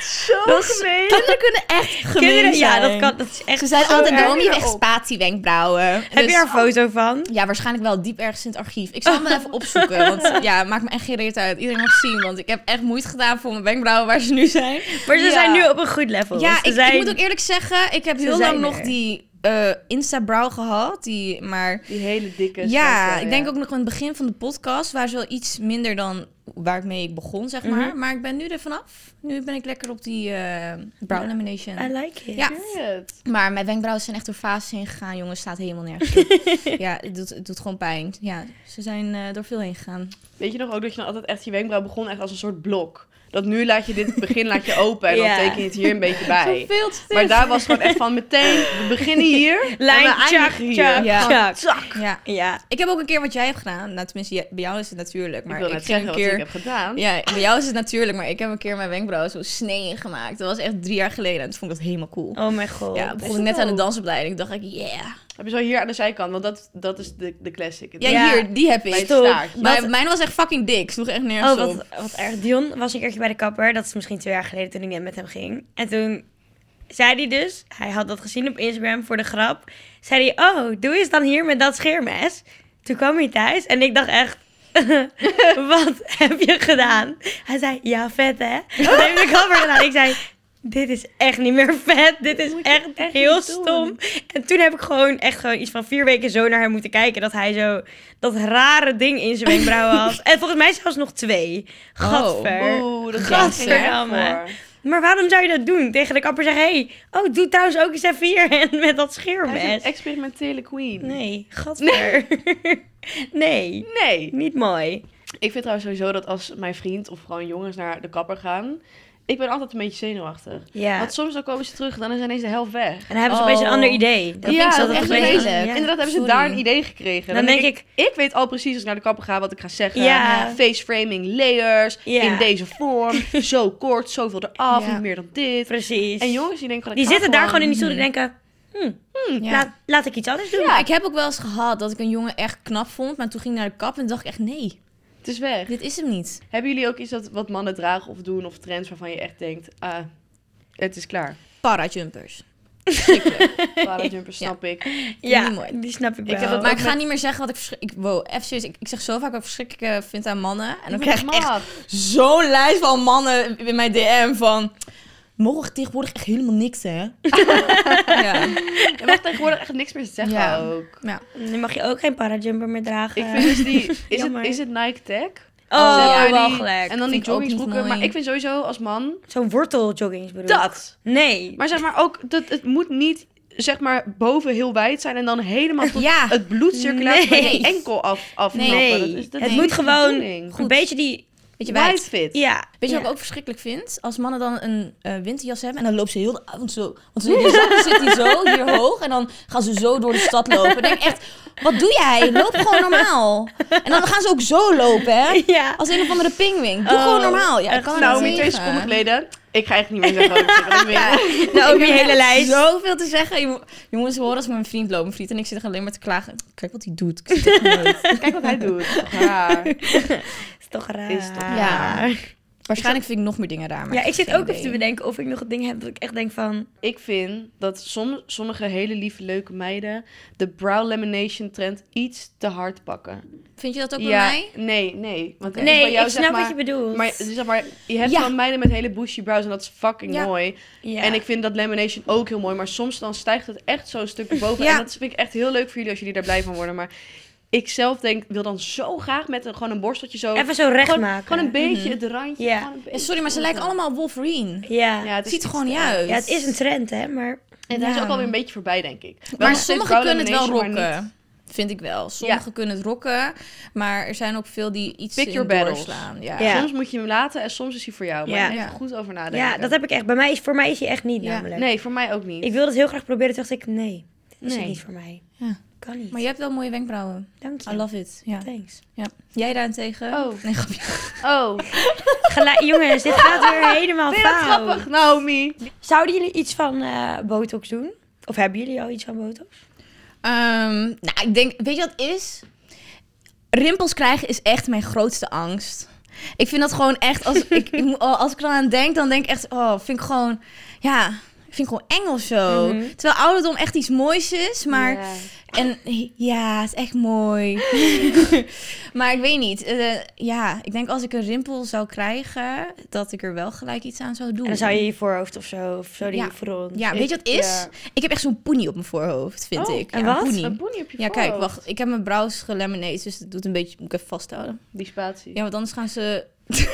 S4: Zo
S3: Dat is- Kinderen kunnen echt gemeen
S1: Kinderen, ja,
S3: zijn.
S1: dat kan. Dat is echt
S3: Ze zeiden
S1: zo
S3: altijd,
S1: erg.
S3: Naomi heeft echt
S4: erop.
S3: spatie wenkbrauwen.
S1: Heb je daar een foto van?
S3: Ja, waarschijnlijk wel diep ergens in het archief. Ik zal hem wel even
S1: <laughs>
S3: opzoeken, want ja, het maakt me echt geen reet uit. Iedereen mag het zien, want ik heb echt moeite gedaan voor mijn wenkbrauwen waar ze nu zijn.
S1: Maar ze
S4: Ja.
S1: zijn nu op een goed level. dus
S3: Ja,
S1: Ze
S3: ik,
S1: zijn-
S3: ik moet ook eerlijk zeggen, ik heb
S1: Ze
S3: heel lang
S1: zijn
S3: nog
S1: er.
S3: die eh Insta-brow gehad. Die, maar
S4: Die hele dikke.
S3: ja,
S1: eh,
S4: zwarte,
S3: ik denk ook nog aan het begin van de podcast waren ze wel iets minder dan waar ik mee begon, zeg maar.
S1: Mhm.
S3: Maar ik ben nu er vanaf. Nu ben ik lekker op die eh, brow lamination.
S1: I like it.
S3: Ja.
S4: Period.
S3: Maar mijn wenkbrauwen zijn echt door fases heen gegaan, jongens. Staat helemaal nergens. op.
S4: <laughs>
S3: ja, het doet, het doet gewoon pijn. Ja, ze zijn eh, door veel heen gegaan.
S4: Weet je nog ook dat je dan altijd echt je wenkbrauw begon echt als een soort blok? Dat nu laat je dit begin laat je open en dan
S1: Ja.
S4: teken je het hier een beetje bij.
S3: Veel te
S4: Maar daar was gewoon echt van meteen, we beginnen hier en
S1: Lijn,
S4: we
S1: tjak,
S4: eindigen hier.
S1: tjak,
S3: Ja.
S1: tjak, tjak.
S3: <laughs> Ja.
S1: Ja.
S3: Ik heb ook een keer wat jij hebt gedaan. Nou, tenminste, jij- bij jou is het natuurlijk. Maar
S4: Ik
S3: ik,
S4: wil net
S3: ging
S4: zeggen
S3: een
S4: wat
S3: keer...
S4: ik heb gedaan.
S3: Ja, bij jou is het natuurlijk, maar ik heb een keer mijn wenkbrauw zo snee gemaakt. Dat was echt drie jaar geleden en toen vond ik dat helemaal cool.
S1: Oh mijn god.
S3: ja,
S4: is
S3: begon ik
S4: dat
S3: net aan de
S4: ook?
S3: dansopleiding, dacht ik, yeah.
S4: Heb je zo hier aan de zijkant, want dat, dat is de, de classic.
S3: Ja,
S1: Ja.
S3: hier, die heb
S4: bij het
S3: ik.
S1: Stop.
S4: staartje.
S3: Maar
S1: Wat-
S3: mijn was echt fucking dik, sloeg echt nergens
S1: Oh,
S3: op.
S1: wat, wat erg. Dion was een keertje bij de kapper. Dat is misschien twee jaar geleden toen ik net met hem ging. En toen zei hij dus, hij had dat gezien op Instagram voor de grap. Zei hij, oh, doe eens dan hier met dat scheermes. Toen kwam hij thuis en ik dacht echt, <laughs> wat heb je gedaan? Hij zei, ja, vet
S4: <laughs>
S1: hè. Dat heeft de kapper gedaan. Ik zei... Dit is echt niet meer vet. Dit is
S4: Moet je
S1: echt,
S4: echt
S1: heel
S4: niet doen.
S1: stom. En toen heb ik gewoon echt gewoon iets van vier weken zo naar hem moeten kijken. Dat hij zo dat rare ding in zijn wenkbrauwen had. En volgens mij zelfs nog twee. Gadver.
S4: Oeh, dat
S1: Gadverdamme.
S4: Gadverdamme.
S1: Maar waarom zou je dat doen? Tegen de kapper zeggen, hey, oh, doe trouwens ook eens even hier <laughs> en met dat
S4: Hij is een
S1: scheermes.
S4: experimentele queen.
S1: Nee, gadver. <laughs> Nee,
S4: Nee.
S1: niet mooi.
S4: Ik vind trouwens sowieso dat als mijn vriend of gewoon jongens naar de kapper gaan, ik ben altijd een beetje zenuwachtig.
S1: Ja.
S4: Want soms dan komen ze terug en dan is ineens de helft weg.
S1: En dan hebben ze opeens een
S3: Oh.
S1: ander idee. Dat vind
S4: Ja,
S1: ik
S4: dat
S1: altijd
S4: is
S1: een
S4: echt
S1: beetje-
S3: lelijk.
S1: ja.
S4: Inderdaad, hebben ze
S3: sorry.
S4: daar een idee gekregen.
S1: Dan denk
S4: ik, ik weet al precies als ik naar de kapper ga wat ik ga zeggen.
S1: Ja.
S4: Face framing, layers,
S1: Ja.
S4: in deze
S1: <laughs>
S4: vorm, zo kort, zoveel eraf,
S3: Ja.
S4: niet meer dan dit.
S1: Precies.
S4: En jongens die denken van,
S1: Die
S4: ik ga
S1: zitten daar gewoon in die stoel en denken,
S4: hm,
S3: Ja.
S1: laat, laat ik iets anders doen.
S3: Ja, ik heb ook wel eens gehad dat ik een jongen echt knap vond, maar toen ging ik naar de kap en dacht ik echt, nee,
S4: Het is weg.
S3: dit is hem niet.
S4: Hebben jullie ook iets dat, wat mannen dragen of doen of trends waarvan je echt denkt, ah, het is
S1: <laughs>
S4: klaar.
S3: Parajumpers.
S4: Parajumpers, snap ik.
S1: Ja,
S3: Niet mooi.
S1: die snap ik wel.
S4: Ik heb dat
S3: Maar
S4: ook
S3: ik ga
S4: met-
S3: niet meer zeggen wat ik verschrikkelijk... Ik, wow, even serieus, ik, ik zeg zo vaak wat ik verschrikkelijk eh, vind aan mannen. En dan
S4: Niet
S3: krijg ik echt
S4: mag.
S3: zo'n lijst van mannen in mijn DM van... Mogen tegenwoordig echt helemaal
S1: <laughs>
S3: niks, hè? ja.
S4: Je mag tegenwoordig echt niks meer zeggen
S3: Ja.
S4: ook.
S1: Nu mag je ook geen parajumper meer dragen.
S4: Ik vind dus die,
S3: <laughs>
S4: is,
S1: jammer.
S4: het, is het Nike Tech?
S1: Oh,
S4: Zeg maar
S1: wel
S4: die-
S1: gelijk.
S4: En dan die
S3: Vind ik ook niet
S4: joggingsbroeken.
S3: mooi.
S4: Maar ik vind sowieso als man
S1: Zo'n worteljoggings bedoel ik.
S4: dat.
S1: Nee.
S4: Maar zeg maar ook, dat, het moet niet zeg maar boven heel wijd zijn en dan helemaal tot
S3: Ja.
S4: het bloedcirculatie van
S1: Nee.
S4: je enkel af, afknappen.
S1: nee.
S4: Dat is- dat
S1: het
S4: is
S1: moet
S4: niet de
S1: gewoon
S4: bedoeling.
S1: een
S3: Goed.
S1: beetje die...
S3: Weet je,
S4: Wide
S3: wijd.
S4: fit.
S1: Ja.
S3: Weet
S1: ja.
S3: je wat ik ook verschrikkelijk vind? Als mannen dan een eh, winterjas hebben en dan loopt ze heel de avond zo...
S1: <laughs>
S3: Want ze, die zak zit die zo, hier hoog. En dan gaan ze zo door de stad lopen. Ik denk echt, wat doe jij? Loop gewoon normaal. En dan gaan ze ook zo lopen, hè?
S1: <laughs> Ja.
S3: Als een of andere pingwing. Doe
S1: Oh,
S3: gewoon normaal. Ja, ik
S1: echt.
S3: kan er
S4: Nou,
S3: niet
S4: met twee
S3: tegen.
S4: seconden
S3: <laughs>
S4: geleden. Ik ga echt niet meer zeggen. wat ik zeg, want ik weet-
S1: Nou, ook
S3: Ik
S1: die
S3: heb
S1: hele
S3: echt
S1: lijst.
S3: Zoveel te zeggen. Je moet- Jongens, horen als ik met mijn vriend loop. Mijn vriend en ik zitten alleen maar te klagen. Kijk wat hij doet. Ik
S1: <laughs>
S3: zit echt nooit.
S4: Kijk wat hij doet. Ja.
S1: Is toch raar.
S4: Is toch
S3: raar. Waarschijnlijk vind ik nog meer dingen raar. maar
S1: Ja, ik zit
S3: geen
S1: ook even
S3: idee.
S1: te bedenken of ik nog dingen heb dat ik echt denk van...
S4: Ik vind dat som, sommige hele lieve, leuke meiden de brow lamination trend iets te hard pakken.
S3: Vind je dat ook bij
S4: ja,
S3: mij?
S4: Nee, nee. Want het is bij
S1: Nee,
S4: jou,
S1: ik
S4: zeg
S1: snap wat
S4: maar-
S1: je bedoelt.
S4: Maar, het is zeg maar je hebt
S3: Ja.
S4: wel meiden met hele bushy brows en dat is fucking
S3: Ja.
S4: mooi.
S1: Ja.
S4: En ik vind dat lamination ook heel mooi. Maar soms dan stijgt het echt zo'n stukje boven.
S3: Ja.
S4: En dat vind ik echt heel leuk voor jullie als jullie daar blij van worden. Maar ik zelf denk, wil dan zo graag met een, gewoon een borsteltje zo...
S1: Even zo recht
S4: gewoon,
S1: maken.
S4: Gewoon een beetje het randje.
S1: Ja.
S4: gewoon een
S3: Ja,
S4: beetje.
S3: sorry, maar ze lijken allemaal op Wolverine.
S1: Ja.
S4: Ja,
S1: Ja.
S4: het
S3: Het
S4: is
S3: ziet er
S4: iets
S3: gewoon
S4: te
S3: niet
S4: erg.
S3: uit.
S1: het is een trend, hè. Maar
S4: En het is
S3: Ja.
S4: ook alweer een beetje voorbij, denk ik. Wel nog
S3: Maar
S4: steeds
S3: sommigen
S4: brow
S3: kunnen het wel
S4: lamination, maar
S3: rocken. Vind ik wel. Sommigen kunnen het rocken. Maar er zijn ook veel die iets
S4: Pick
S3: in
S4: your battles.
S3: doorslaan. Ja.
S1: Ja.
S4: niet- Soms moet je hem laten en soms is hij voor jou. Maar
S1: Ja.
S4: even
S3: Ja.
S4: goed over nadenken.
S1: ja, dat heb ik echt. Bij mij is, voor mij is die echt niet
S3: Ja.
S1: namelijk.
S4: Nee, voor mij ook niet.
S1: Ik wilde het heel graag proberen. Toen dacht ik, nee. Dit is
S4: Nee.
S1: het niet voor mij.
S3: Ja.
S1: Kan niet.
S3: Maar je hebt wel mooie wenkbrauwen.
S1: Dank je.
S3: I love it. Ja.
S1: Thanks.
S3: ja. Jij daarentegen?
S4: Oh.
S3: Nee, grapje.
S1: <laughs>
S4: Oh,
S1: Gela- <laughs> jongens, dit gaat weer helemaal
S4: vind je dat
S1: fout.
S4: grappig, Naomi?
S1: Zouden jullie iets van eh, botox doen? Of hebben jullie al iets van botox?
S3: Ehm, nou, ik denk, weet je wat het is? Rimpels krijgen is echt mijn grootste angst. Ik vind dat gewoon echt, als
S1: <laughs>
S3: ik, ik moet- oh, als ik er aan denk, dan denk ik echt, oh, vind ik gewoon, ja, vind ik gewoon eng of zo.
S1: Mhm.
S3: Terwijl ouderdom echt iets moois is, maar
S4: Ja.
S3: En ja, het is echt
S1: <laughs>
S3: mooi. maar ik weet niet. eh, ja, ik denk als ik een rimpel zou krijgen, dat ik er wel gelijk iets aan zou doen.
S1: En dan zou je je voorhoofd of zo, of zo die
S3: Ja.
S1: front.
S3: Ja, weet je wat het is?
S4: Ja.
S3: Ik heb echt zo'n poenie op mijn voorhoofd, vind
S4: Oh,
S3: ik.
S1: en
S3: ja,
S1: wat?
S3: poenie.
S4: Een boenie op je
S3: Ja, kijk,
S4: voorhoofd.
S3: wacht. Ik heb mijn brows gelamineerd, dus dat doet een beetje... Moet ik even vasthouden?
S4: Die spatie.
S3: Ja, want anders gaan ze... <laughs>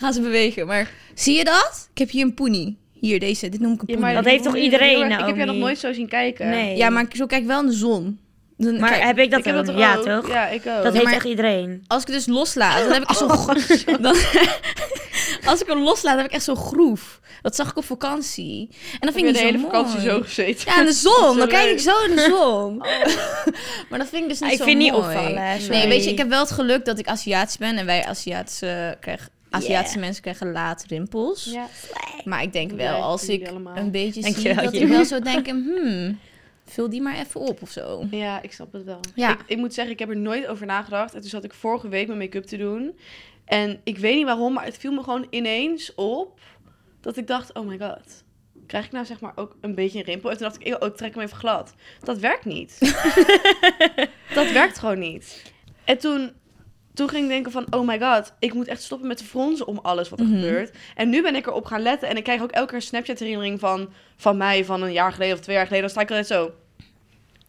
S3: gaan ze bewegen. Maar zie je dat? Ik heb hier een poenie. Hier, deze. Dit noem ik een
S4: Ja,
S3: poenie.
S4: maar
S1: Dat heeft toch
S4: moet je
S1: iedereen,
S4: heel erg- Ik heb jou nog
S1: Naomi?
S4: nooit zo zien kijken.
S1: Nee.
S3: Ja, maar zo kijk ik wel in de zon. Dan,
S1: Maar
S3: kijk,
S1: heb ik dat
S4: ik heb
S1: dan?
S4: dat toch
S1: ja,
S4: ook?
S1: toch?
S4: Ja, ik ook.
S1: Dat heeft
S3: maar-
S1: echt iedereen.
S3: als ik het dus loslaat, dan heb ik echt zo'n...
S4: Oh.
S3: gro- <laughs> dan- als ik hem loslaat, dan heb ik echt zo'n groef. Dat zag ik op vakantie. En dat
S4: heb je
S3: vind ik
S4: de
S3: niet zo
S4: hele
S3: mooi.
S4: vakantie zo gezeten.
S3: Ja, in de zon.
S4: Zo
S3: Dan kijk ik
S4: leuk.
S3: zo in de zon. <laughs> maar dat vind ik dus niet
S1: ik
S3: zo
S1: vind niet
S3: mooi.
S1: opvallen. Sorry.
S3: Nee, weet je, ik heb wel het geluk dat ik Aziatisch ben. En wij Aziatische, krijgen, Aziatische mensen krijgen laat rimpels.
S4: Ja.
S3: Maar ik denk wel,
S4: Blijven
S3: als
S4: jullie
S3: ik
S4: allemaal.
S3: een beetje zie,
S1: Dankjewel,
S3: dat ik
S1: Jim.
S3: wel zou denken... Hmm, vul die maar even op of zo.
S4: ja, ik snap het wel.
S3: Ja.
S4: Ik, ik moet zeggen, ik heb er nooit over nagedacht. En toen zat ik vorige week mijn make-up te doen. En ik weet niet waarom, maar het viel me gewoon ineens op dat ik dacht, oh my god. Krijg ik nou zeg maar ook een beetje een rimpel? En toen dacht ik, oh, ik trek hem even glad. Dat werkt
S3: <laughs>
S4: niet. dat werkt gewoon niet. En toen, toen ging ik denken van, oh my god, ik moet echt stoppen met te fronsen om alles wat er
S3: Mhm.
S4: gebeurt. En nu ben ik erop gaan letten. En ik krijg ook elke keer een Snapchat herinnering van, van mij van een jaar geleden of twee jaar geleden. Dan sta ik altijd zo.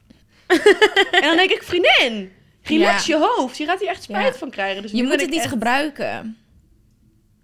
S4: <laughs> en dan denk ik, vriendin, relax je hoofd. Je gaat hier echt spijt
S3: Ja.
S4: van krijgen. Dus nu
S3: Je moet
S4: ben
S3: het
S4: ik
S3: niet
S4: echt-
S3: gebruiken.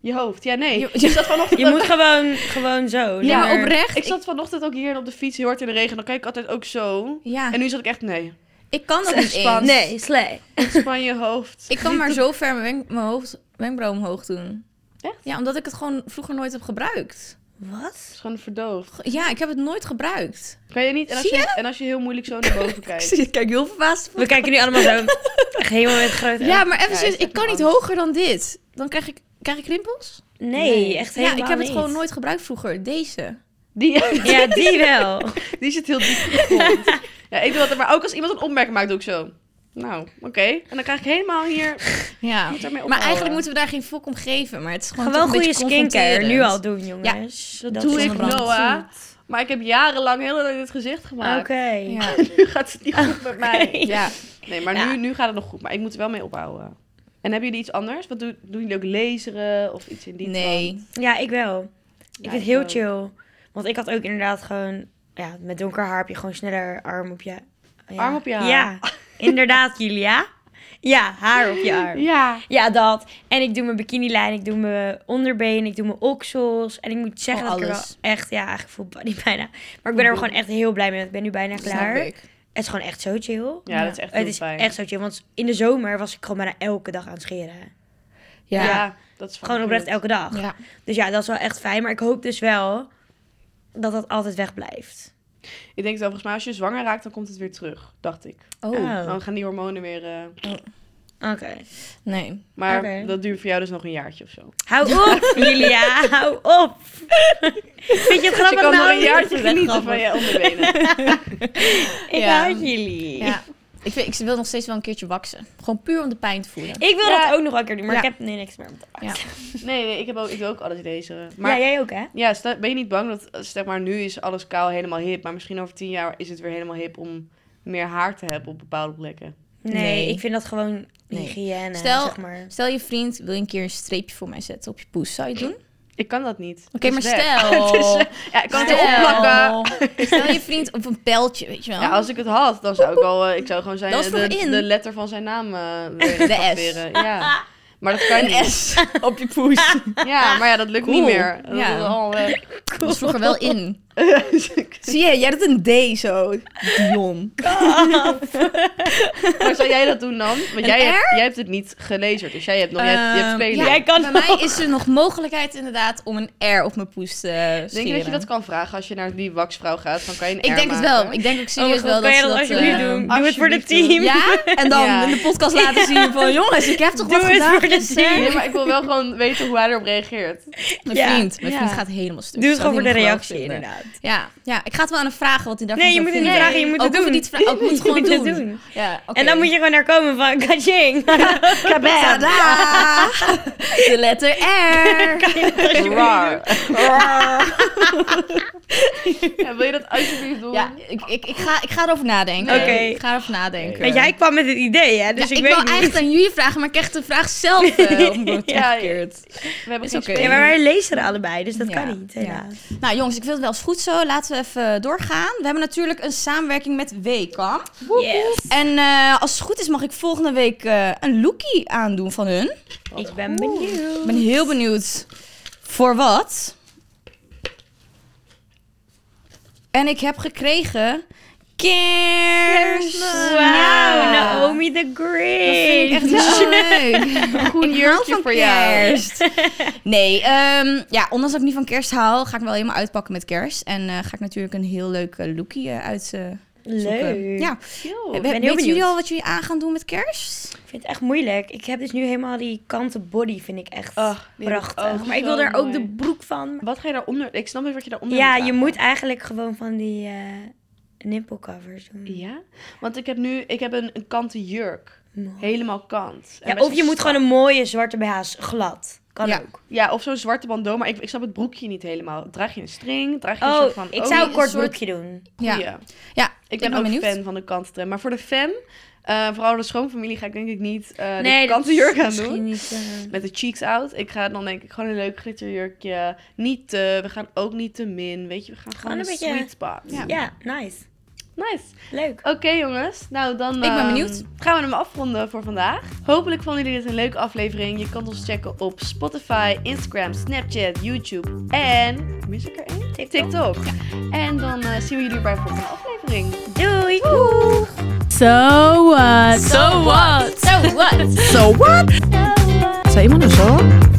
S4: Je hoofd, ja nee.
S3: <laughs> Je-
S4: Ik zat vanochtend
S1: Je
S4: <laughs>
S1: moet gewoon, gewoon zo.
S3: Ja, maar oprecht.
S4: Ik zat vanochtend ook hier op de fiets heel hard in de regen. Dan kijk ik altijd ook zo.
S3: Ja,
S4: En nu zat ik echt, nee.
S3: ik kan dat niet eens.
S1: Nee, slee.
S4: Ontspan je hoofd.
S3: Ik kan maar zo ver mijn, wenk- mijn hoofd, wenkbrauw omhoog doen.
S4: Echt?
S3: Ja, omdat ik het gewoon vroeger nooit heb gebruikt.
S4: Het
S1: Wat?
S4: is gewoon verdoofd.
S3: Ge- Ja, ik heb het nooit gebruikt.
S4: Kan je niet? En als
S3: Zie
S4: je, en als je heel moeilijk zo naar
S3: <laughs>
S4: boven kijkt.
S3: ik kijk heel verbaasd.
S1: We kijken nu allemaal <laughs> zo. Echt helemaal met grote
S3: Ja, maar even
S4: Ja,
S3: serieus,
S4: is echt
S3: ik kan
S4: een
S3: niet
S4: angst.
S3: hoger dan dit. Dan krijg ik, krijg ik rimpels?
S1: Nee, echt helemaal
S3: ja, ik heb het
S1: niet.
S3: gewoon nooit gebruikt vroeger. Deze.
S4: Die, <laughs>
S1: Ja, die wel.
S4: die zit heel diep gegrond.
S3: <laughs>
S4: Ja, ik doe dat. Maar ook als iemand een opmerking maakt, doe ik zo. Nou, oké. En dan krijg ik helemaal hier...
S3: Ja.
S4: Moet daarmee
S3: Maar eigenlijk
S4: ophouden.
S3: moeten we daar geen fok om geven. Maar het is gewoon, toch
S1: Gewoon
S3: een
S1: goede
S3: beetje
S1: skincare nu
S3: confronterend.
S1: al doen, jongens.
S4: dat doe
S1: is
S4: ik,
S1: allemaal
S4: Noah.
S1: goed.
S4: Maar ik heb jarenlang heel lang dit gezicht
S1: Ah, Oké. Ah,
S4: gemaakt.
S3: Ja.
S4: Nu gaat het niet goed met mij.
S3: ja.
S4: Nee, maar
S1: Ja.
S4: nu, nu gaat het nog goed. Maar ik moet er wel mee ophouden. En hebben jullie iets anders? Wat doen, doen jullie ook laseren of iets in die trant?
S3: Nee.
S1: Ja, ik wel. Ik
S4: Ja,
S1: vind het heel
S4: ook.
S1: chill. Want ik had ook inderdaad gewoon... Ja, met donker haar heb je gewoon sneller arm op je... ja.
S4: Arm op je haar. <laughs>
S1: Ja, inderdaad, Julia. Ja, haar op je arm.
S4: Ja.
S1: Ja, dat. En ik doe mijn bikinilijn, ik doe mijn onderbeen, ik doe mijn oksels. En ik moet zeggen
S3: Oh,
S1: dat ik er
S3: alles.
S1: wel echt... Ja, eigenlijk voel body bijna. Maar ik ben er gewoon echt heel blij mee. want Ik ben nu bijna klaar.
S3: Snap ik.
S1: Het is gewoon echt zo chill.
S4: Ja, dat is echt heel
S1: het is
S4: fijn.
S1: echt zo chill. Want in de zomer was ik gewoon bijna elke dag aan het scheren.
S4: Ja.
S3: Ja. ja.
S4: dat is
S1: Gewoon
S4: fucking
S1: oprecht
S4: goed.
S1: elke dag. Dus ja, dat is wel echt fijn. Maar ik hoop dus wel dat dat altijd wegblijft.
S4: Ik denk dat volgens mij als je zwanger raakt, dan komt het weer terug, dacht ik.
S3: Oh,
S1: Oh.
S4: Dan gaan die hormonen weer... eh,
S1: Oké.
S3: nee.
S4: Maar
S1: Oké.
S4: dat duurt voor jou dus nog een jaartje of zo.
S1: Hou op, Julia. Hou
S3: <laughs>
S1: op. Vind je het
S4: Dus je
S1: grappig
S4: kan nog
S1: nou?
S4: een jaartje
S3: is
S1: <laughs>
S3: echt
S4: genieten van
S3: grappig.
S4: je onderbenen.
S1: Ik
S3: Ja.
S1: hou jullie.
S3: Ja. Ik, vind, ik wil nog steeds wel een keertje waksen. Gewoon puur om de pijn te voelen.
S1: Ik wil
S4: Ja.
S1: dat ook nog wel een keer doen, maar
S3: Ja.
S1: ik heb nu niks meer om te pakken.
S3: Ja.
S1: Ja.
S4: Nee, nee, ik, heb ook, ik doe ook alles deze. Maar
S1: jij ook, hè?
S4: Ja, sta- ben je niet bang dat, eh, zeg maar, nu is alles kaal helemaal hip, maar misschien over tien jaar is het weer helemaal hip om meer haar te hebben op bepaalde plekken?
S1: Nee,
S3: Nee.
S1: ik vind dat gewoon
S3: Nee.
S1: hygiëne,
S3: Stel-
S1: zeg
S3: <laughs>
S1: maar.
S3: Stel je vriend wil je een keer een streepje voor mij zetten op je poes. Zou je het doen? Oké,
S4: Ik kan dat niet. Oké,
S3: maar stel.
S4: ja, ik kan het
S3: Stel.
S4: erop plakken.
S3: Stel je vriend op een pijltje, weet je wel.
S4: Ja, als ik het had, dan zou ik al, eh, ik zou gewoon zijn,
S3: Dat
S4: eh,
S3: is
S4: de,
S3: toch in?
S4: de letter van zijn naam eh
S3: <laughs> De
S4: weer
S3: S.
S4: tatoeëren. Ja. Maar dat kan
S3: een
S4: niet.
S3: S <laughs> op je poes.
S4: Ja, maar ja, dat lukt
S3: Cool.
S4: niet meer. Dat
S3: Ja.
S4: is al, eh,
S3: Dat was vroeger wel in. Zie je, jij had een D zo. Dion.
S4: <laughs> maar zou jij dat doen dan? Want
S3: Een
S4: jij hebt, jij hebt het niet gelezen, dus jij hebt nog, jij hebt, je hebt
S3: Ehm,
S4: spelen.
S3: ja,
S1: Jij kan
S3: Bij mij is er nog mogelijkheid inderdaad om een R op mijn poes te
S4: Ik denk dat je
S3: scheren.
S4: dat kan vragen als je naar die waxvrouw gaat. Dan kan je een
S3: Ik
S4: R
S3: denk het
S4: maken.
S3: wel. Ik denk ook
S1: Oh,
S3: serieus
S1: God,
S3: dus wel
S1: kan
S3: dat
S1: jij
S3: ze
S1: dat
S3: dat...
S1: alsjeblieft
S3: eh,
S1: doen? Doe het voor het
S4: alsjeblieft doen.
S1: team.
S3: Ja, en dan
S4: Ja.
S3: in de podcast <laughs> laten zien van... Jongens, ik heb toch
S1: Doe
S3: wat
S1: het
S3: gedaan
S1: voor de
S3: gisteren?
S4: Nee, maar ik wil wel gewoon weten hoe hij erop reageert.
S3: Mijn
S1: Ja.
S3: vriend. Mijn
S4: Ja.
S3: vriend gaat helemaal stuk.
S1: Doe het
S3: Zou
S1: gewoon voor de
S3: niet geweldig
S1: reactie,
S3: vinden.
S1: inderdaad.
S3: Ja. ja, ik ga het wel aan hem vragen wat hij daarvan
S1: Nee, je
S3: zou
S1: moet het niet
S3: vinden.
S1: vragen, je moet
S3: Ook
S1: het
S3: hoef
S1: doen.
S3: Niet te vragen,
S1: <laughs>
S3: ook moet het gewoon
S1: Je moet
S3: doen.
S1: het doen.
S3: Ja, oké.
S1: En dan moet je gewoon naar komen van
S3: <laughs>
S1: kaching. <laughs> Kabam.
S3: Tadaa!
S1: <laughs>
S3: De letter R.
S4: Raar. Ja, wil je dat alsjeblieft doen?
S3: Ja, ik, ik, ik, ga, ik ga erover nadenken.
S1: Oké.
S3: Ik ga erover nadenken.
S1: En jij kwam met het idee, hè? Dus
S3: Ja,
S1: ik,
S3: ik
S1: weet
S3: wou
S1: niet.
S3: eigenlijk aan jullie vragen, maar ik krijg de vraag
S1: <laughs>
S3: zelf eh, op mijn bord
S4: Ja,
S3: teruggekeerd.
S4: We hebben
S3: Is
S4: geen
S3: oké.
S4: spelen.
S1: Ja, maar wij lezen er allebei, dus dat
S3: Ja,
S1: kan niet,
S3: ja.
S1: helaas.
S3: Nou jongens, ik vind het wel eens goed zo. Laten we even doorgaan. We hebben natuurlijk een samenwerking met WKAM.
S1: Yes.
S3: En eh, als het goed is mag ik volgende week eh, een lookie aandoen van hun.
S1: Ik ben benieuwd.
S3: Ik ben heel benieuwd voor wat. En ik heb gekregen kerst.
S1: Wauw, nou, oh,
S3: Ja.
S1: Naomi the
S3: Dat vind ik
S1: Great.
S3: echt heel leuk.
S4: een goed
S3: Ik hou van
S4: jurkje voor jou.
S3: kerst. Nee, ehm, ja, ondanks dat ik niet van kerst hou, ga ik me wel helemaal uitpakken met kerst. En eh, ga ik natuurlijk een heel leuk eh, lookie eh, uitzoeken.
S1: Leuk.
S3: Ja.
S4: Yo.
S1: ben heel
S3: We- Weten jullie
S1: benieuwd.
S3: al wat jullie aan gaan doen met kerst?
S1: Ik vind het echt moeilijk. Ik heb dus nu helemaal die kanten body, vind ik echt
S4: Ach, die heb ik
S1: prachtig.
S4: ook
S1: maar ik
S4: zo
S1: wil daar ook
S4: mooi.
S1: de broek van.
S4: Wat ga je daaronder... Ik snap niet wat je daaronder
S1: Ja,
S4: moet
S1: je
S4: maken.
S1: moet eigenlijk gewoon van die nippelcovers nippelcovers doen.
S4: Ja? Want ik heb nu... Ik heb een, een kanten jurk.
S1: Mooi.
S4: Helemaal kant. En
S1: Ja,
S4: best
S1: of je
S4: wel
S1: moet
S4: strak.
S1: gewoon een mooie zwarte BH's glad. Kan
S3: Ja.
S1: ook.
S4: Ja, of zo'n zwarte bandeau. Maar ik, ik snap het broekje niet helemaal. Draag je een string? Draag je een soort
S1: Oh,
S4: van...
S1: ik zou een
S3: een
S1: kort
S3: soort-
S1: broekje doen.
S3: Ja.
S4: goeie.
S3: Ja,
S4: Ik
S3: ben
S4: ben ook
S3: benieuwd.
S4: fan van de kantentrend. Maar voor de fem, eh, vooral de schoonfamilie, ga ik denk ik niet eh de
S1: dat
S4: kantenjurk
S1: is
S4: aan doen.
S1: misschien niet, eh,
S4: Met de cheeks out. Ik ga dan denk ik gewoon een leuk glitterjurkje. Niet te, we gaan ook niet te min. Weet je, we gaan gewoon
S1: een
S4: een
S1: beetje-
S4: sweet spot.
S3: Ja.
S1: ja, nice.
S4: Nice.
S1: Leuk.
S4: Oké jongens, nou dan
S3: ben
S4: ehm,
S3: benieuwd.
S4: gaan we hem afronden voor vandaag. Hopelijk vonden jullie dit een leuke aflevering. Je kan ons checken op Spotify, Instagram, Snapchat, YouTube en... Mis ik er één?
S1: TikTok.
S4: En dan eh, zien we jullie bij de volgende aflevering.
S1: Doei.
S5: So what?
S3: So what? So what?
S5: So what? Zou iemand een zo?